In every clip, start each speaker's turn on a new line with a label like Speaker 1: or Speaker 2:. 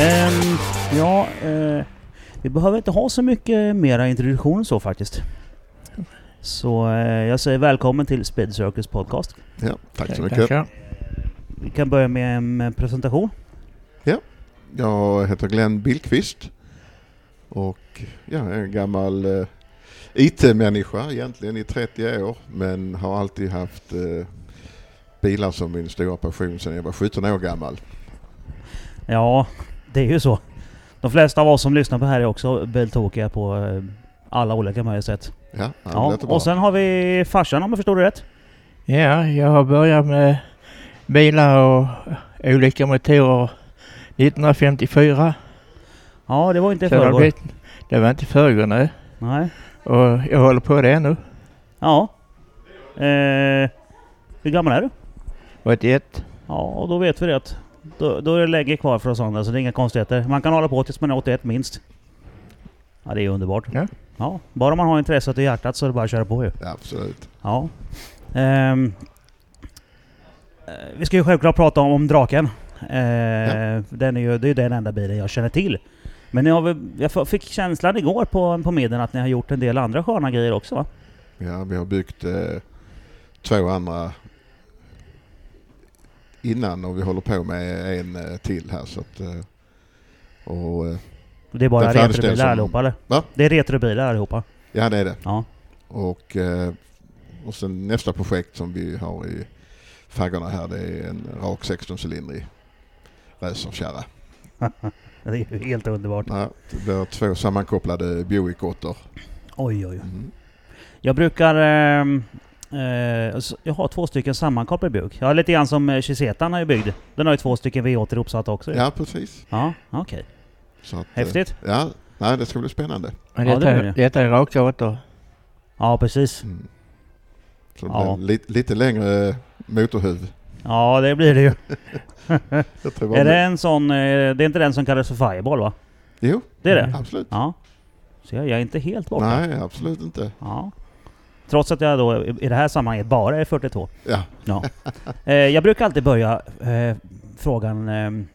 Speaker 1: Ehm, ja, eh, vi behöver inte ha så mycket mera introduktion så faktiskt. Så eh, jag säger välkommen till Speed Circus Podcast.
Speaker 2: Ja, tack så mycket.
Speaker 3: Tackar.
Speaker 1: Vi kan börja med en eh, presentation.
Speaker 2: Jag heter Glenn Billqvist och ja, jag är en gammal eh, IT-människa egentligen i 30 år men har alltid haft eh, bilar som min stora passion sedan jag var 17 år gammal.
Speaker 1: Ja, det är ju så. De flesta av oss som lyssnar på det här är också biltokiga på eh, alla olika möjliga sätt.
Speaker 2: Ja, ja, det
Speaker 1: Ja,
Speaker 2: låter bra.
Speaker 1: och sen har vi farsan om jag förstod det rätt.
Speaker 3: Ja, jag har börjat med bilar och olika motorer 1954.
Speaker 1: Ja, det var inte i
Speaker 3: Så det, har
Speaker 1: förrgår.
Speaker 3: blivit, det var inte förrgår nu.
Speaker 1: Nej.
Speaker 3: Och jag håller på det ännu.
Speaker 1: Ja. Eh, hur gammal är du?
Speaker 3: 81.
Speaker 1: Ja, och då vet vi det. att Då, då är det länge kvar för oss andra, så det är inga konstigheter. Man kan hålla på tills man är 81 minst. Ja, det är underbart.
Speaker 3: Ja.
Speaker 1: Ja, bara man har intresset i hjärtat så är det bara att köra på ju.
Speaker 2: Ja, absolut.
Speaker 1: Ja. Ehm, eh, vi ska ju självklart prata om, om draken. Eh, den är ju, det är ju den enda bilen jag känner till. Men ni har väl, jag f- fick känslan igår på, på middagen att ni har gjort en del andra sköna grejer också va?
Speaker 2: Ja, vi har byggt eh, två andra innan och vi håller på med en eh, till här så att eh, och, eh,
Speaker 1: Det är bara
Speaker 2: Därför anställs
Speaker 1: retrobilar
Speaker 2: som-
Speaker 1: allihopa eller?
Speaker 2: Va?
Speaker 1: Det är retrobilar allihopa.
Speaker 2: ja det är det.
Speaker 1: Ja.
Speaker 2: Och, eh, och sen nästa projekt som vi har i faggorna här det är en rak 16-cylindrig racerkärra.
Speaker 1: Det är ju helt underbart.
Speaker 2: Ja, Det blir två sammankopplade Buick 8.
Speaker 1: Oj oj.
Speaker 2: Mm.
Speaker 1: Jag brukar... ehm, eh, s- jag har två stycken sammankopplade bugg. Jag har lite grann som eh, Chisetan har ju byggd. Den har ju två stycken V8 ihopsatta också ju.
Speaker 2: Ja precis.
Speaker 1: Ja, okej.
Speaker 2: Så att, eh,
Speaker 1: Häftigt.
Speaker 2: Ja, nej, det ska bli spännande.
Speaker 3: Men
Speaker 1: Ja,
Speaker 3: detta,
Speaker 1: det blir det.
Speaker 3: detta är raka åttor.
Speaker 1: Ja, precis.
Speaker 2: Mm. Så det
Speaker 1: Ja.
Speaker 2: blir li- lite längre motorhuv.
Speaker 1: Ja, det blir det ju.
Speaker 2: Jag tror
Speaker 1: Är
Speaker 2: bara-
Speaker 1: det en sån... eh, Det är inte den som kallas för Fireball va?
Speaker 2: Jo,
Speaker 1: Det är det?
Speaker 3: Mm.
Speaker 2: absolut.
Speaker 1: Ja. Så jag, jag är inte helt borta.
Speaker 2: Nej, absolut inte.
Speaker 1: Ja. Trots att jag då i i det här sammanhanget bara är 42.
Speaker 2: Ja,
Speaker 1: Ja. Eh, jag brukar alltid börja eh, frågan... ehm,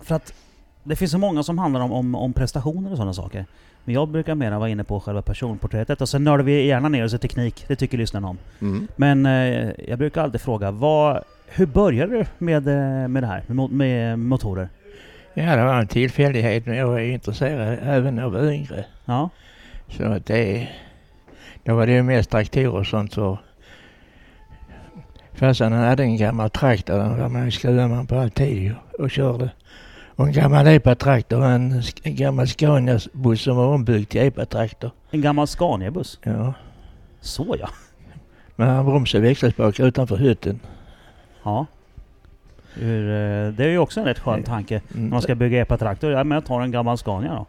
Speaker 1: för att det finns så många som handlar om, om, om prestationer och sådana saker. Men jag brukar mera vara inne på själva personporträttet och sen nördar vi gärna ner oss i teknik. Det tycker lyssnarna om.
Speaker 2: mm.
Speaker 1: Men eh, jag brukar alltid fråga, vad, hur började du med, eh, med det här? Med, mo- med motorer?
Speaker 3: Ja, det var en tillfällighet men jag är intresserad även av yngre.
Speaker 1: Ja.
Speaker 3: Så att det, då var det ju mest traktorer och sånt. Så. Farsan han hade en gammal traktor, den var man skruvade man på alltid och, och körde. Och en gammal epatraktor, en, sk- en gammal Scania-buss som var ombyggd till epatraktor.
Speaker 1: En gammal Scania-buss?
Speaker 3: Ja.
Speaker 1: Så ja.
Speaker 3: Men han bromsade växelspak utanför hytten.
Speaker 1: ja. Ur, eh, det är ju också en rätt skön tanke. När
Speaker 3: Mm.
Speaker 1: man ska bygga epatraktor, ja men jag tar en gammal Scania då.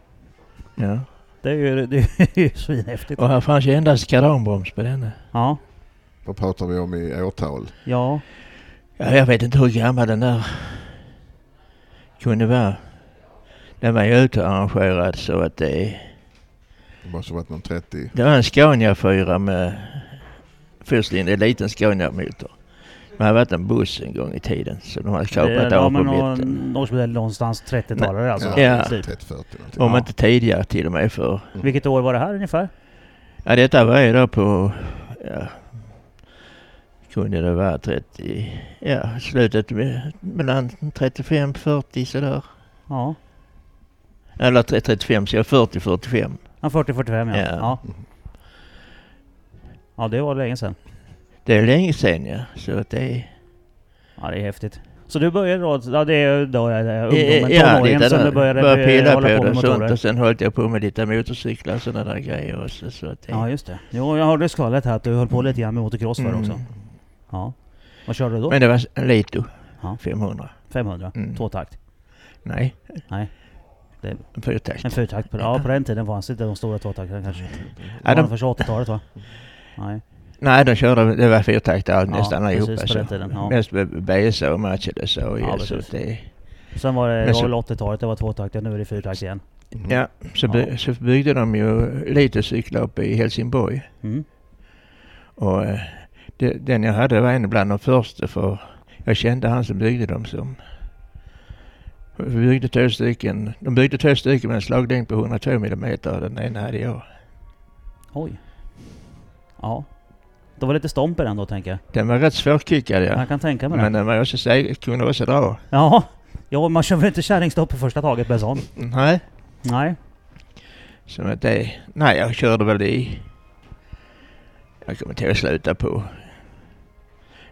Speaker 3: Ja.
Speaker 1: Det är ju, det är ju svinhäftigt.
Speaker 3: Och här fanns ju endast kardanbroms på denna.
Speaker 1: Ja,
Speaker 2: Vad pratar vi om i årtal?
Speaker 1: ja.
Speaker 3: Ja, jag vet inte hur gammal den där kunde vara. Den var ju utarrangerad så att det
Speaker 2: Det måste ha varit någon 30.
Speaker 3: Det var en Scania 4 med först en liten Scania-motor. Det hade varit en buss en gång i tiden så de hade kapat
Speaker 1: Eh, ja,
Speaker 3: av på
Speaker 1: men
Speaker 3: mitten.
Speaker 1: någon- någon- någonstans 30-talare alltså.
Speaker 3: Ja.
Speaker 1: Typ.
Speaker 2: 30-40 någonting.
Speaker 3: Om
Speaker 1: ja.
Speaker 3: inte tidigare till och med för...
Speaker 1: Vilket år var det här ungefär?
Speaker 3: Ja detta var ju då på... Ja, kunde det vara 30... Ja slutet med, mellan 35 40 sådär.
Speaker 1: Ja.
Speaker 3: Eller 35 så jag 40 45.
Speaker 1: Ja, 40-45 ja.
Speaker 3: Ja.
Speaker 1: ja. Ja, det var länge sedan.
Speaker 3: Det är länge sedan ja. Så att det är...
Speaker 1: Ja, det är häftigt. Så du började då, ja, det är då är det ungdomen,
Speaker 3: Ja,
Speaker 1: tonåringen
Speaker 3: lite
Speaker 1: som
Speaker 3: där.
Speaker 1: du började,
Speaker 3: Började
Speaker 1: eh,
Speaker 3: pilla
Speaker 1: hålla på
Speaker 3: på det
Speaker 1: med
Speaker 3: och sånt
Speaker 1: motorer?
Speaker 3: och sen höll jag på med lite motorcyklar och sådana där grejer också. Så att det,
Speaker 1: Ja, just det. Jo, jag hörde skvallret här att du höll på lite grann med motocross förr
Speaker 3: Mm.
Speaker 1: också. Ja. Vad körde du då?
Speaker 3: Men det var en Lito
Speaker 1: Ja.
Speaker 3: 500.
Speaker 1: 500?
Speaker 3: Mm.
Speaker 1: Tvåtakt?
Speaker 3: Nej.
Speaker 1: Nej. Det,
Speaker 3: En fyrtakt.
Speaker 1: en fyrtakt på, ja, på den tiden fanns inte de stora tvåtakterna kanske. Det var
Speaker 3: Ja,
Speaker 1: de
Speaker 3: de-
Speaker 1: första 80-talet va? Nej.
Speaker 3: Nej, de körde, det var fyrtaktare
Speaker 1: Ja,
Speaker 3: nästan allihopa.
Speaker 1: precis, på den tiden, ja.
Speaker 3: Mest BSO och Mercedes och
Speaker 1: Ja,
Speaker 3: ja, så
Speaker 1: precis. Mm.
Speaker 3: det,
Speaker 1: Sen var det, det
Speaker 3: Men
Speaker 1: var
Speaker 3: så-
Speaker 1: väl 80-talet, det var tvåtakter, nu är det fyrtakt igen.
Speaker 2: Mm.
Speaker 3: ja, så, by,
Speaker 1: Ja.
Speaker 3: så byggde de ju lite cyklar uppe i Helsingborg.
Speaker 1: Mm.
Speaker 3: Och eh, det, den jag hade var en bland de första för jag kände han som byggde dem som vi byggde två stycken. De byggde två stycken med en slaglängd på 102 millimeter och den ena hade jag.
Speaker 1: Oj. Ja. Det var lite stomp i den då tänker jag.
Speaker 3: Den var rätt svårkickad ja.
Speaker 1: Jag kan tänka mig
Speaker 3: Men
Speaker 1: det.
Speaker 3: den var också säg, kunde också dra.
Speaker 1: Ja. ja, man kör väl inte kärringstopp på första taget med en sån?
Speaker 3: Nej.
Speaker 1: Nej.
Speaker 3: Som att det, nej jag körde väl i, jag kommer inte ihåg sluta på,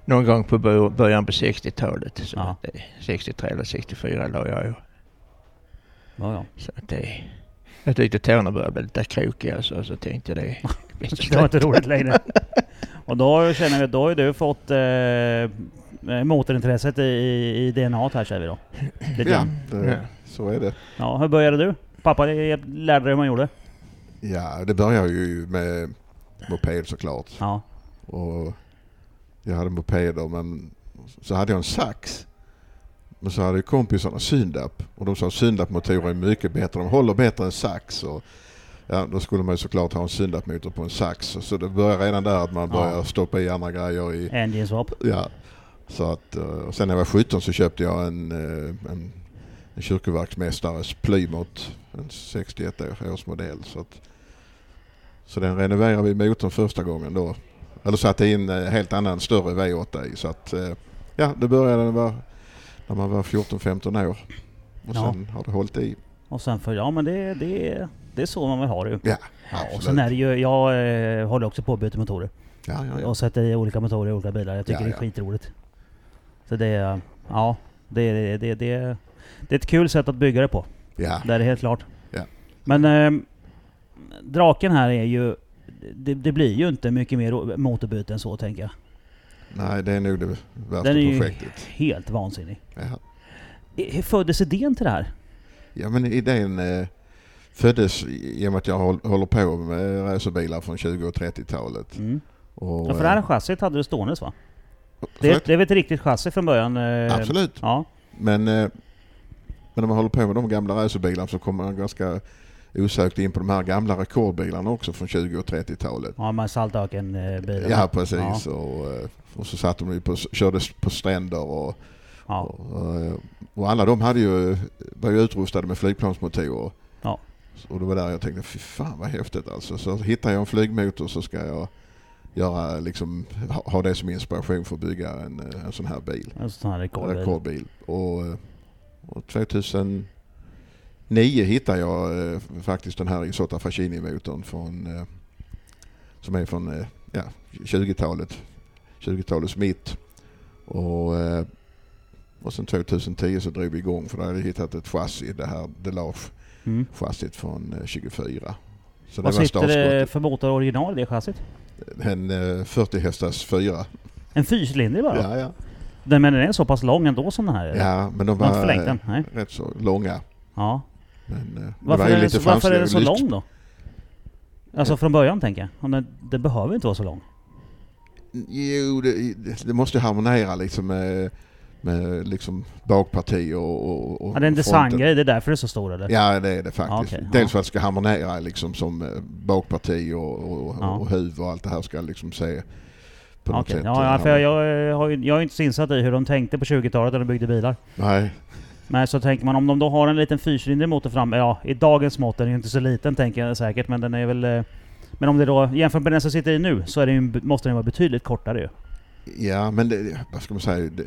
Speaker 3: någon gång på bör- början på 60-talet. Som
Speaker 1: Ja.
Speaker 3: att det, 63 eller 64 la jag ju.
Speaker 1: Ja, ja.
Speaker 3: Så att det, jag tyckte tårna började bli lite krokiga så, så tänkte det, det
Speaker 1: Det
Speaker 3: blir
Speaker 1: var
Speaker 3: slut.
Speaker 1: inte roligt längre. Och då känner vi att då har ju du fått eh, motorintresset i, i, i DNA här säger vi då. Lite
Speaker 2: Ja,
Speaker 1: grann.
Speaker 2: det,
Speaker 3: Ja.
Speaker 2: så är det.
Speaker 1: ja, hur började du? Pappa eh, lärde dig hur man gjorde?
Speaker 2: Ja, det börjar ju med moped såklart.
Speaker 1: Ja.
Speaker 2: Och jag hade mopeder men så hade jag en sax. Men så hade ju kompisarna syndap och de sa att syndapmotorer är mycket bättre, de håller bättre än sax. Och, ja, då skulle man ju såklart ha en syndapmotor på en sax. Så det börjar redan där att man
Speaker 1: Ja.
Speaker 2: börjar stoppa i andra grejer i
Speaker 1: Engine swap.
Speaker 2: Ja. Så att, eh, och sen när jag var 17 så köpte jag en, eh, en, en kyrkoverksmästares Plymouth, en 61 års modell. Så, att, så den renoverade vi motorn första gången då. Eller satte in en helt annan större V8 i. Så att, eh, ja, det började när, var, när man var 14-15 år. Och
Speaker 1: Ja.
Speaker 2: sen har det hållit i.
Speaker 1: Och sen för, ja men det, det, det är så man vill ha det ju.
Speaker 2: Ja,
Speaker 1: Ja, och
Speaker 2: absolut.
Speaker 1: sen är det ju, jag eh, håller också på att byta motorer.
Speaker 2: ja, ja, ja.
Speaker 1: Och sätter i olika motorer i olika bilar. Jag tycker
Speaker 2: Ja,
Speaker 1: det är
Speaker 2: ja.
Speaker 1: skitroligt. Så det är, ja, det, det, det, det, det är ett kul sätt att bygga det på.
Speaker 2: ja.
Speaker 1: Det är det helt klart.
Speaker 2: Ja.
Speaker 1: Men ehm, draken här är ju... Det, det blir ju inte mycket mer o- motorbyte än så tänker jag.
Speaker 2: Nej, det är nog det värsta
Speaker 1: Den är ju
Speaker 2: projektet.
Speaker 1: helt vansinnig.
Speaker 2: Ja.
Speaker 1: I- Hur föddes idén till det här?
Speaker 2: Ja men idén eh, föddes i och med att jag håll- håller på med racerbilar från 20 och 30-talet.
Speaker 1: Mm.
Speaker 2: Och,
Speaker 1: Ja, för det här
Speaker 2: eh,
Speaker 1: chassit hade du ståendes va? Det,
Speaker 2: förlåt?
Speaker 1: det är väl ett riktigt chassi från början? eh,
Speaker 2: Absolut.
Speaker 1: Ja.
Speaker 2: Men, eh, men när man håller på med de gamla racerbilarna så kommer man ganska osökt in på de här gamla rekordbilarna också från 20 och 30-talet.
Speaker 1: Ja, med saltöken-bilen.
Speaker 2: Ja precis. Och, eh, och så satt de ju på, körde på stränder och,
Speaker 1: Ja.
Speaker 2: och, eh, och alla de hade ju, var ju utrustade med flygplansmotorer.
Speaker 1: Ja.
Speaker 2: Och det var där jag tänkte, fy fan vad häftigt alltså. Så hittar jag en flygmotor så ska jag göra, liksom, ha, ha det som inspiration för att bygga en, eh, en sån här bil.
Speaker 1: En sån här
Speaker 2: En
Speaker 1: rekordbil.
Speaker 2: rekordbil. Och, eh, och 2009 hittade jag eh, faktiskt den här Isotta Facchini-motorn från, eh, som är från eh, ja, 20-talet, 20-talets mitt. Och, eh, och sen 2010 så drog vi igång för då hade jag hittat ett chassi, det här Delage
Speaker 1: Mm.
Speaker 2: chassit från eh, 24. Så
Speaker 1: Vad
Speaker 2: det var
Speaker 1: sitter det
Speaker 2: startskottet.
Speaker 1: för motor original i det chassit?
Speaker 2: En eh, 40 hästars fyra.
Speaker 1: En fyrcylindrig bara?
Speaker 2: Ja, ja.
Speaker 1: Den, men den är så pass lång ändå som den här? är.
Speaker 2: ja, men de
Speaker 1: Man har inte
Speaker 2: var
Speaker 1: förlängt
Speaker 2: eh,
Speaker 1: den? Nej.
Speaker 2: rätt så långa.
Speaker 1: Ja.
Speaker 2: Men, eh, det
Speaker 1: Varför,
Speaker 2: var ju
Speaker 1: är, den
Speaker 2: lite
Speaker 1: så, varför är den så
Speaker 2: fransk-
Speaker 1: lång då? Alltså från början tänker jag. Om Den, den behöver inte vara så lång.
Speaker 2: Jo, det, det måste harmonera liksom med, med liksom bakparti och, och, och
Speaker 1: Ja, det är en
Speaker 2: fronten.
Speaker 1: designgrej, det är därför det är så stor eller?
Speaker 2: Ja, det är det faktiskt.
Speaker 1: Ja, okej,
Speaker 2: Dels
Speaker 1: ja.
Speaker 2: för att det ska harmonera liksom som eh, bakparti och, och,
Speaker 1: Ja.
Speaker 2: och huvud och allt det här ska liksom se på något
Speaker 1: Okej.
Speaker 2: sätt.
Speaker 1: ja, ja, för jag, jag, eh, har ju- jag är inte så insatt i hur de tänkte på 20-talet när de byggde bilar.
Speaker 2: Nej, Typ.
Speaker 1: Men så tänker man om de då har en liten fyrcylindrig motor fram, ja i dagens mått den är ju inte så liten tänker jag säkert men den är väl... eh, Men om det då jämfört med den som sitter i nu så är det ju, en- måste den vara betydligt kortare ju.
Speaker 2: ja men det, vad ska man säga? Det,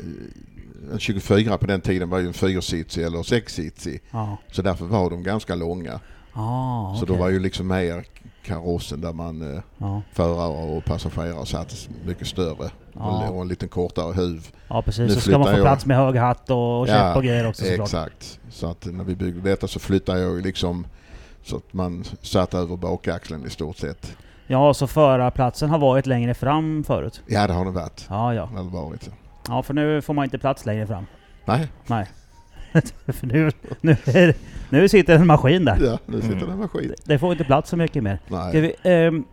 Speaker 2: en 24 på den tiden var ju en fyrsitsig eller sexsitsig.
Speaker 1: Ja.
Speaker 2: Så därför var de ganska långa.
Speaker 1: Ah,
Speaker 2: Så
Speaker 1: okej.
Speaker 2: då var ju liksom mer karossen där man eh,
Speaker 1: ja.
Speaker 2: förare och passagerare satt mycket större
Speaker 1: Ja.
Speaker 2: och, och en liten kortare huv.
Speaker 1: ja
Speaker 2: Nu
Speaker 1: precis, så ska
Speaker 2: flyttar
Speaker 1: man få
Speaker 2: jag.
Speaker 1: plats med hög hatt och, och käpp
Speaker 2: Ja,
Speaker 1: och grejer också såklart.
Speaker 2: Exakt. Så att när vi byggde detta så flyttade jag ju liksom så att man satt över bakaxeln i stort sett.
Speaker 1: Ja, så förarplatsen har varit längre fram förut.
Speaker 2: Ja det har det varit.
Speaker 1: Ja, ja.
Speaker 2: Allvarligt.
Speaker 1: Ja, för nu får man inte plats längre fram.
Speaker 2: Nej.
Speaker 1: Nej. För nu, nu, är, nu sitter en maskin där.
Speaker 2: Ja, nu sitter
Speaker 3: Mm.
Speaker 2: den maskin.
Speaker 1: Det får inte plats så mycket mer. Ska
Speaker 2: Nej.
Speaker 1: vi, ehm,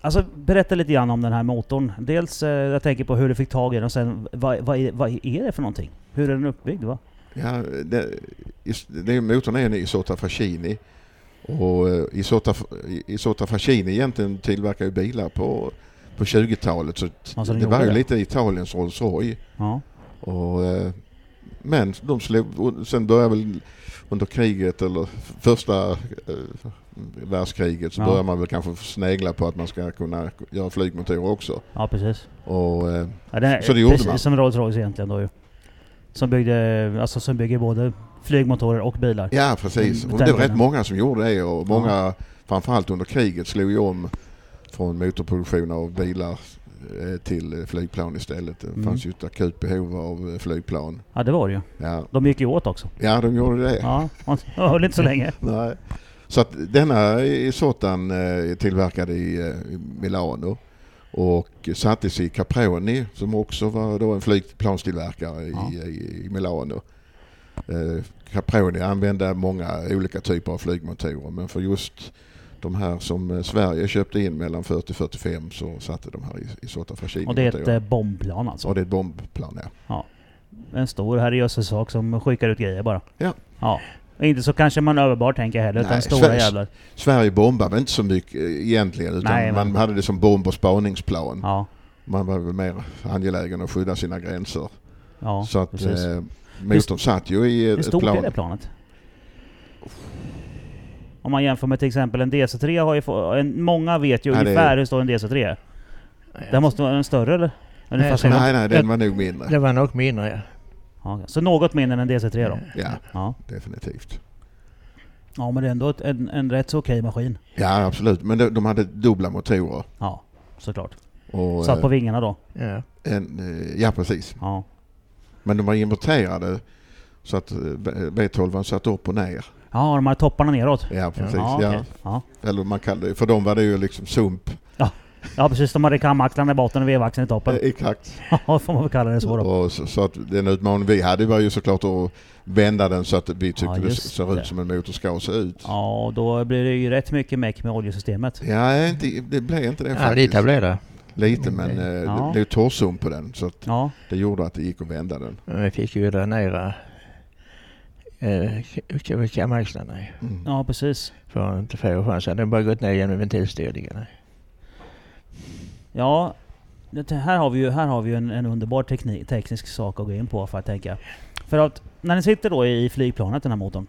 Speaker 1: alltså berätta lite grann om den här motorn. Dels, eh, jag tänker på hur du fick tag i den och sen vad, vad, är, vad är det för någonting? Hur är den uppbyggd? Va?
Speaker 2: Ja, det, is- det, motorn är en Isotta Facchini. Och eh, Isotta, Isotta Facchini egentligen tillverkar ju bilar på, på 20-talet. Så t-
Speaker 1: Ja, så den
Speaker 2: det var
Speaker 1: gjorde
Speaker 2: ju
Speaker 1: det.
Speaker 2: lite Italiens Rolls Royce.
Speaker 1: Ja. och
Speaker 2: Och, eh, men de slog, och sen började väl under kriget eller första eh, världskriget så
Speaker 1: Ja.
Speaker 2: började man väl kanske snegla på att man ska kunna göra flygmotorer också.
Speaker 1: Ja, precis.
Speaker 2: Och, eh,
Speaker 1: Ja, den är,
Speaker 2: Så det gjorde
Speaker 1: precis
Speaker 2: man.
Speaker 1: som Rolls Royce egentligen då ju. Som, byggde, alltså, som bygger både flygmotorer och bilar.
Speaker 2: ja precis,
Speaker 1: Mm,
Speaker 2: och det var
Speaker 1: tankarna.
Speaker 2: rätt många som gjorde det och många framförallt under kriget slog ju om från motorproduktion av bilar eh, till eh, flygplan istället. Det
Speaker 1: Mm.
Speaker 2: fanns ju ett akut behov av eh, flygplan.
Speaker 1: Ja, det var det ju.
Speaker 2: Ja,
Speaker 1: De gick ju åt också.
Speaker 2: ja de gjorde det.
Speaker 1: Ja, man höll inte så länge.
Speaker 2: Nej. Så att denna sortan eh, tillverkade i eh, i Milano och sattes i Caproni som också var då en flygplanstillverkare i-
Speaker 1: Ja.
Speaker 2: i, i Milano. Eh, Caproni använde många olika typer av flygmotorer men för just de här som eh, Sverige köpte in mellan 40 45 så satte de här i, i Sota Facchini.
Speaker 1: Och det är ett eh, bombplan alltså.
Speaker 2: och det är ett bombplan ja.
Speaker 1: En stor herrejösses sak som skickar ut grejer bara.
Speaker 2: Ja.
Speaker 1: ja. Inte så kanske manöverbar tänker jag heller, utan
Speaker 2: Nej,
Speaker 1: stora
Speaker 2: Sveriges-
Speaker 1: jävlar.
Speaker 2: Sverige bombade inte så mycket eh, egentligen utan
Speaker 1: Nej, men-
Speaker 2: man hade det som bomb och spaningsplan.
Speaker 1: Ja.
Speaker 2: Man var väl mer angelägen att skydda sina gränser.
Speaker 1: Ja,
Speaker 2: så att
Speaker 1: precis.
Speaker 2: eh, motorn satt ju i
Speaker 1: Hur
Speaker 2: ett
Speaker 1: stort är
Speaker 2: plan.
Speaker 1: det planet? Om man jämför med till exempel en DC3 har ju få, en, Många vet ju
Speaker 2: Ja, det är-
Speaker 1: ungefär hur stor en DC3 är. Den måste vara en större eller? Ungefär
Speaker 3: Nej,
Speaker 1: som-
Speaker 2: Nej, nej, den var nog mindre.
Speaker 3: Det var nog mindre ja.
Speaker 1: Ja, så något mindre än en DC3 då?
Speaker 2: Ja,
Speaker 1: Ja.
Speaker 2: definitivt.
Speaker 1: Ja men det är ändå ett, en, en rätt så okej maskin.
Speaker 2: Ja, absolut. Men de, de hade dubbla motorer.
Speaker 1: Ja, såklart.
Speaker 2: Och,
Speaker 1: Satt på
Speaker 2: eh,
Speaker 1: vingarna då?
Speaker 3: ja.
Speaker 2: en, eh, ja, precis.
Speaker 1: Ja.
Speaker 2: Men de var importerade så att eh, V12 satt upp och ner.
Speaker 1: Ja, de här topparna neråt?
Speaker 2: Ja, precis. Ja,
Speaker 1: Ja, okej. ja.
Speaker 2: Eller man kallar det, för dem var det ju liksom sump.
Speaker 1: ja precis, de hade kamaxlarna i botten och vevaxeln i toppen.
Speaker 2: Eh, Exakt.
Speaker 1: Ja, får man väl kalla det så då.
Speaker 2: Och så, så att den utmaning vi hade var ju såklart att vända den så att vi tyckte
Speaker 1: Ja,
Speaker 2: det
Speaker 1: just
Speaker 2: såg
Speaker 1: det.
Speaker 2: ut som en motor ska se ut.
Speaker 1: Ja, och då blir det ju rätt mycket meck med oljesystemet.
Speaker 2: Ja, inte, det blev inte det
Speaker 3: ja
Speaker 2: faktiskt.
Speaker 3: lite blev det.
Speaker 2: Lite men eh,
Speaker 1: Ja.
Speaker 2: det blev torrsum på den så att
Speaker 1: Ja,
Speaker 2: det gjorde att det gick att vända den.
Speaker 3: Men vi fick ju dränera eh, k- kamaxlarna ju.
Speaker 2: Mm.
Speaker 1: ja precis.
Speaker 3: För att inte få chansen. Den har bara gått ner genom ventilstyrningarna.
Speaker 1: Ja, det här har vi ju, här har vi ju en, en underbar teknik, teknisk sak att gå in på för att tänka. För att när ni sitter då i flygplanet, den här motorn.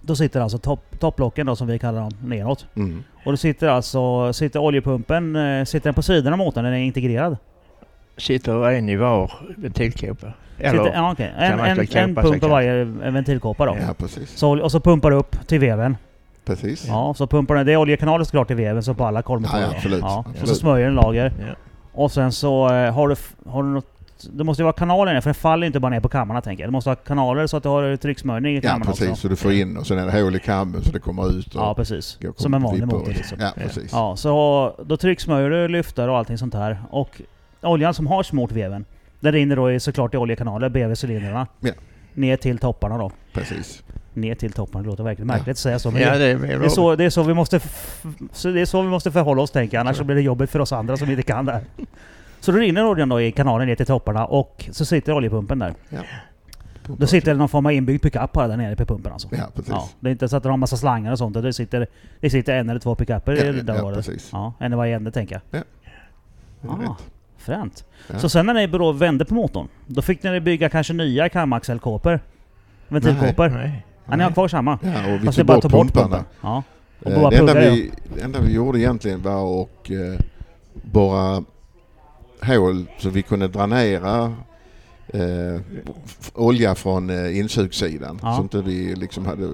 Speaker 1: Då sitter alltså topp- topplocken då som vi kallar dem neråt.
Speaker 2: Mm.
Speaker 1: Och då sitter alltså sitter oljepumpen eh, sitter den på sidan av motorn, den är integrerad.
Speaker 3: Sitter en i var ventilkåpa. Eller,
Speaker 1: Sitter, ja, okej. En,
Speaker 3: kan man
Speaker 1: en,
Speaker 3: kläcka
Speaker 1: en
Speaker 3: upp, alltså,
Speaker 1: pump i
Speaker 3: kan-
Speaker 1: varje eh, ventilkåpa då.
Speaker 2: Ja precis.
Speaker 1: Så, olj- och så pumpar du upp till veven.
Speaker 2: Precis.
Speaker 1: Ja, så pumpar den. Det är oljekanaler såklart till veven, så på alla kolvmotorer.
Speaker 2: Ja, ja, absolut.
Speaker 1: Och så
Speaker 2: Absolut.
Speaker 1: smörjer den lager.
Speaker 3: ja.
Speaker 1: Och sen så eh, har du, f- har du något... Det måste ju vara kanaler ner, för den faller inte bara ner på kammarna tänker jag. Du måste ha kanaler så att du har trycksmörjning i
Speaker 2: Ja
Speaker 1: kammarna
Speaker 2: precis.
Speaker 1: också.
Speaker 2: Så du får in och sen är det hål i kammen så det kommer ut. Och
Speaker 1: Ja, precis.
Speaker 2: går och
Speaker 1: Som en vanlig
Speaker 2: klipper.
Speaker 1: motor liksom.
Speaker 2: Ja precis.
Speaker 1: Ja, så då trycksmörjer du lyftar och allting sånt här. Och oljan som har smort veven, den rinner då i, såklart i oljekanaler, BV-cylindrarna.
Speaker 2: Ja.
Speaker 1: Ner till topparna då.
Speaker 2: precis.
Speaker 1: Ner till topparna, det låter verkligen
Speaker 2: Ja.
Speaker 1: märkligt att säga så. Men
Speaker 3: ja,
Speaker 1: det,
Speaker 3: det är väl
Speaker 1: det, är så, det, är så vi måste f- så det är så vi måste förhålla oss tänker jag, annars så blir det jobbigt för oss andra som inte kan det här. Så då rinner oljan då i kanalen ner till topparna och så sitter oljepumpen där. Då sitter det någon form av inbyggd pickup bara där nere på pumpen alltså.
Speaker 2: Ja precis.
Speaker 1: Ja, det är inte så att de har massa slangar och sånt. Det sitter, det sitter en eller två pickuper
Speaker 2: Ja,
Speaker 1: i det
Speaker 2: ja,
Speaker 1: där
Speaker 2: ja,
Speaker 1: var det.
Speaker 2: precis.
Speaker 1: Ja, en i varje ände tänker jag.
Speaker 2: Det är
Speaker 1: Ah.
Speaker 2: rätt.
Speaker 1: Fränt.
Speaker 2: Ja.
Speaker 1: Så sen när ni då vände på motorn, då fick ni bygga kanske nya kamaxelkåpor? Ventilkåpor? Nej.
Speaker 3: Nej.
Speaker 1: Ja, ni har kvar samma?
Speaker 2: Ja, och vi
Speaker 1: Fast ni
Speaker 2: tog
Speaker 1: bara
Speaker 2: bort
Speaker 1: tog bort
Speaker 2: pumparna.
Speaker 1: pumpen? Ja. Och
Speaker 2: Eh,
Speaker 1: bara
Speaker 2: Det enda
Speaker 1: pluggar
Speaker 2: vi, det enda vi gjorde egentligen var att eh, borra hål så vi kunde dränera eh, f- olja från eh, insugssidan.
Speaker 1: Ja.
Speaker 2: Så inte vi liksom hade,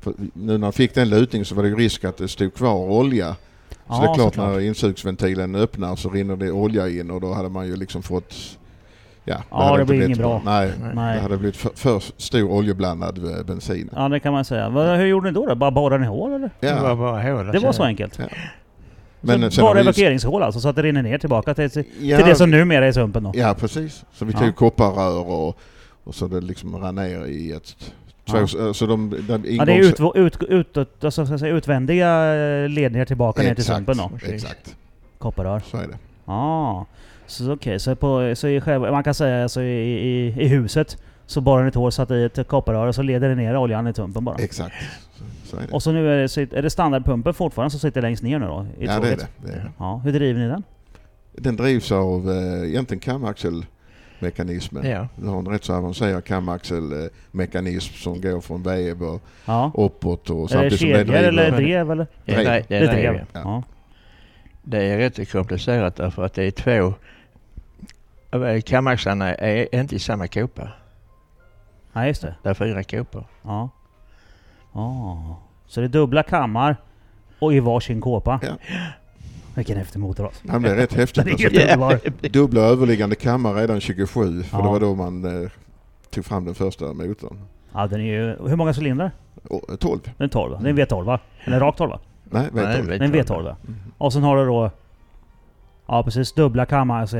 Speaker 2: för nu när vi fick den lutningen så var det ju risk att det stod kvar olja. Så
Speaker 1: ja,
Speaker 2: det är klart
Speaker 1: såklart.
Speaker 2: när insugsventilen öppnar så rinner det olja in och då hade man ju liksom fått Ja,
Speaker 1: Ja,
Speaker 2: hade
Speaker 1: det
Speaker 2: inte
Speaker 1: blir
Speaker 2: blivit
Speaker 1: inget bra.
Speaker 2: Nej, det
Speaker 1: Nej.
Speaker 2: hade blivit för, för stor oljeblandad eh, bensin.
Speaker 1: Ja det kan man säga. Vad- Hur gjorde ni då? då? Bara borrade ni hål eller?
Speaker 3: Det var
Speaker 2: Ja.
Speaker 3: bara hål.
Speaker 1: Det var så enkelt?
Speaker 2: Ja.
Speaker 1: Men
Speaker 2: sen
Speaker 1: så
Speaker 2: har
Speaker 1: bara
Speaker 2: vi ju-
Speaker 1: evakueringshål alltså, så att det rinner ner tillbaka till, till
Speaker 2: Ja,
Speaker 1: det som numera är sumpen då?
Speaker 2: Ja precis. Så vi
Speaker 1: Ja.
Speaker 2: tog kopparrör och, Och så det liksom rann ner i ett... Så, eh, så de, de
Speaker 1: Ja, det är
Speaker 2: ingångs-
Speaker 1: ut, ut, ut, alltså, ska jag säga, utvändiga eh, ledningar tillbaka ner till
Speaker 2: Exakt,
Speaker 1: sumpen då?
Speaker 2: Exakt,
Speaker 1: Kopparrör.
Speaker 2: så är det.
Speaker 1: Ah. Så okej, så, på, så i själva, man kan säga alltså, i, i, i huset så borrar ni ett hål, satte i ett kopparrör och så leder det ner oljan i pumpen bara.
Speaker 2: Exakt, så, så är det.
Speaker 1: Och så nu är det, sit- är det standardpumpen fortfarande som sitter längst ner nu då? I
Speaker 2: Ja, det är
Speaker 1: tåget?
Speaker 2: det. det är. det.
Speaker 1: Ja, hur driver ni den?
Speaker 2: Den drivs av eh, egentligen kamaxelmekanismen.
Speaker 3: Ja.
Speaker 2: Du har en rätt så avancerad kamaxelmekanism som går från vev
Speaker 1: Ja.
Speaker 2: och uppåt och
Speaker 1: Är det
Speaker 2: samtidigt som det
Speaker 1: kedjor eller
Speaker 2: driver.
Speaker 1: drev eller?
Speaker 3: Det
Speaker 2: Drev.
Speaker 3: är, nej, det
Speaker 1: Det är
Speaker 3: är
Speaker 1: drev.
Speaker 3: drev.
Speaker 2: ja.
Speaker 1: Ja.
Speaker 3: Det är rätt komplicerat därför att det är två... eh, Kamaxlarna är inte i samma kopa.
Speaker 1: ja, just det.
Speaker 3: Det är fyra kopor.
Speaker 1: Ja. Ah. Så det är dubbla kammar och i varsin kåpa.
Speaker 2: Ja.
Speaker 1: Vilken häftig motras.
Speaker 2: Han blev rätt häftigt.
Speaker 1: Den är
Speaker 2: Alltså,
Speaker 1: helt underbar.
Speaker 2: dubbla överliggande kammare redan 27 för
Speaker 1: Ja.
Speaker 2: det var då man eh, tog fram den första motorn.
Speaker 1: Ja, den är ju... Hur många cylindrar?
Speaker 2: Och, 12?
Speaker 1: Den är 12 va? Det är en V12 va? Eller rak 12 va?
Speaker 2: Nej, vet
Speaker 3: Nej,
Speaker 2: du.
Speaker 1: Det är en V12 va? Och sen har du då... Ja precis, dubbla kammar alltså,